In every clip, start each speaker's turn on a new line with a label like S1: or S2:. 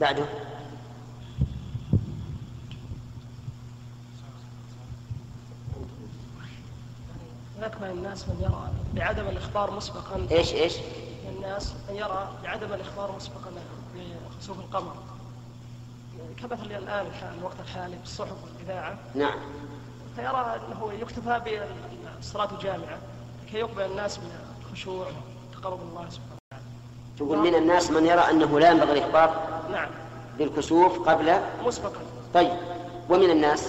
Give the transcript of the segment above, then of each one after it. S1: بعده
S2: يكمن الناس من يرى بعدم الاخبار مسبقا
S1: ايش ايش؟
S2: للناس من يرى بعدم الاخبار مسبقا بخسوف القمر كمثل الان الحال- الوقت الحالي بالصحف والاذاعه
S1: نعم
S2: فيرى انه يكتفى بالصلاه الجامعه لكي يقبل الناس من الخشوع تقرب الله سبحانه
S1: تقول من الناس من يرى انه لا ينبغي الاخبار
S2: وتعالى. نعم
S1: بالكسوف قبل
S2: مسبقا
S1: طيب ومن الناس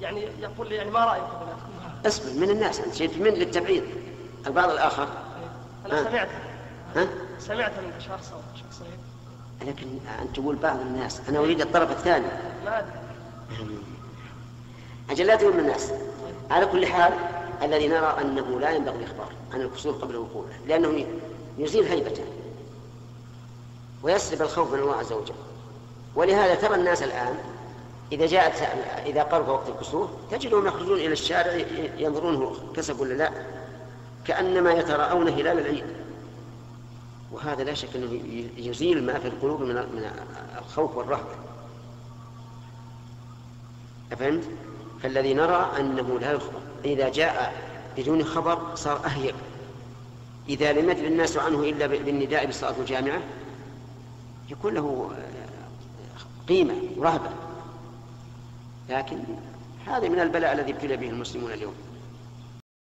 S2: يعني يقول لي يعني ما رايكم بناتكم هذا؟
S1: اصبر من الناس انت شئت من للتبعيض البعض الاخر
S2: انا
S1: آه.
S2: سمعت
S1: ها
S2: سمعت من شخص او شخصين
S1: لكن انت تقول بعض الناس انا اريد الطرف الثاني
S2: ما ادري
S1: اجل لا تقول من الناس على كل حال الذي نرى انه لا ينبغي الاخبار عن الكسوف قبل وقوعه لانه يزيل هيبته ويسلب الخوف من الله عز وجل ولهذا ترى الناس الان اذا جاءت اذا قرب وقت الكسوف تجدهم يخرجون الى الشارع ينظرونه كسب ولا لا كانما يتراءون هلال العيد وهذا لا شك انه يزيل ما في القلوب من من الخوف والرهبه أفهمت؟ فالذي نرى أنه لا يخبر إذا جاء بدون خبر صار أهيب إذا لم يدري الناس عنه إلا بالنداء بالصلاة الجامعة يكون له آه، قيمة ورهبة لكن هذا من البلاء الذي ابتلي به المسلمون اليوم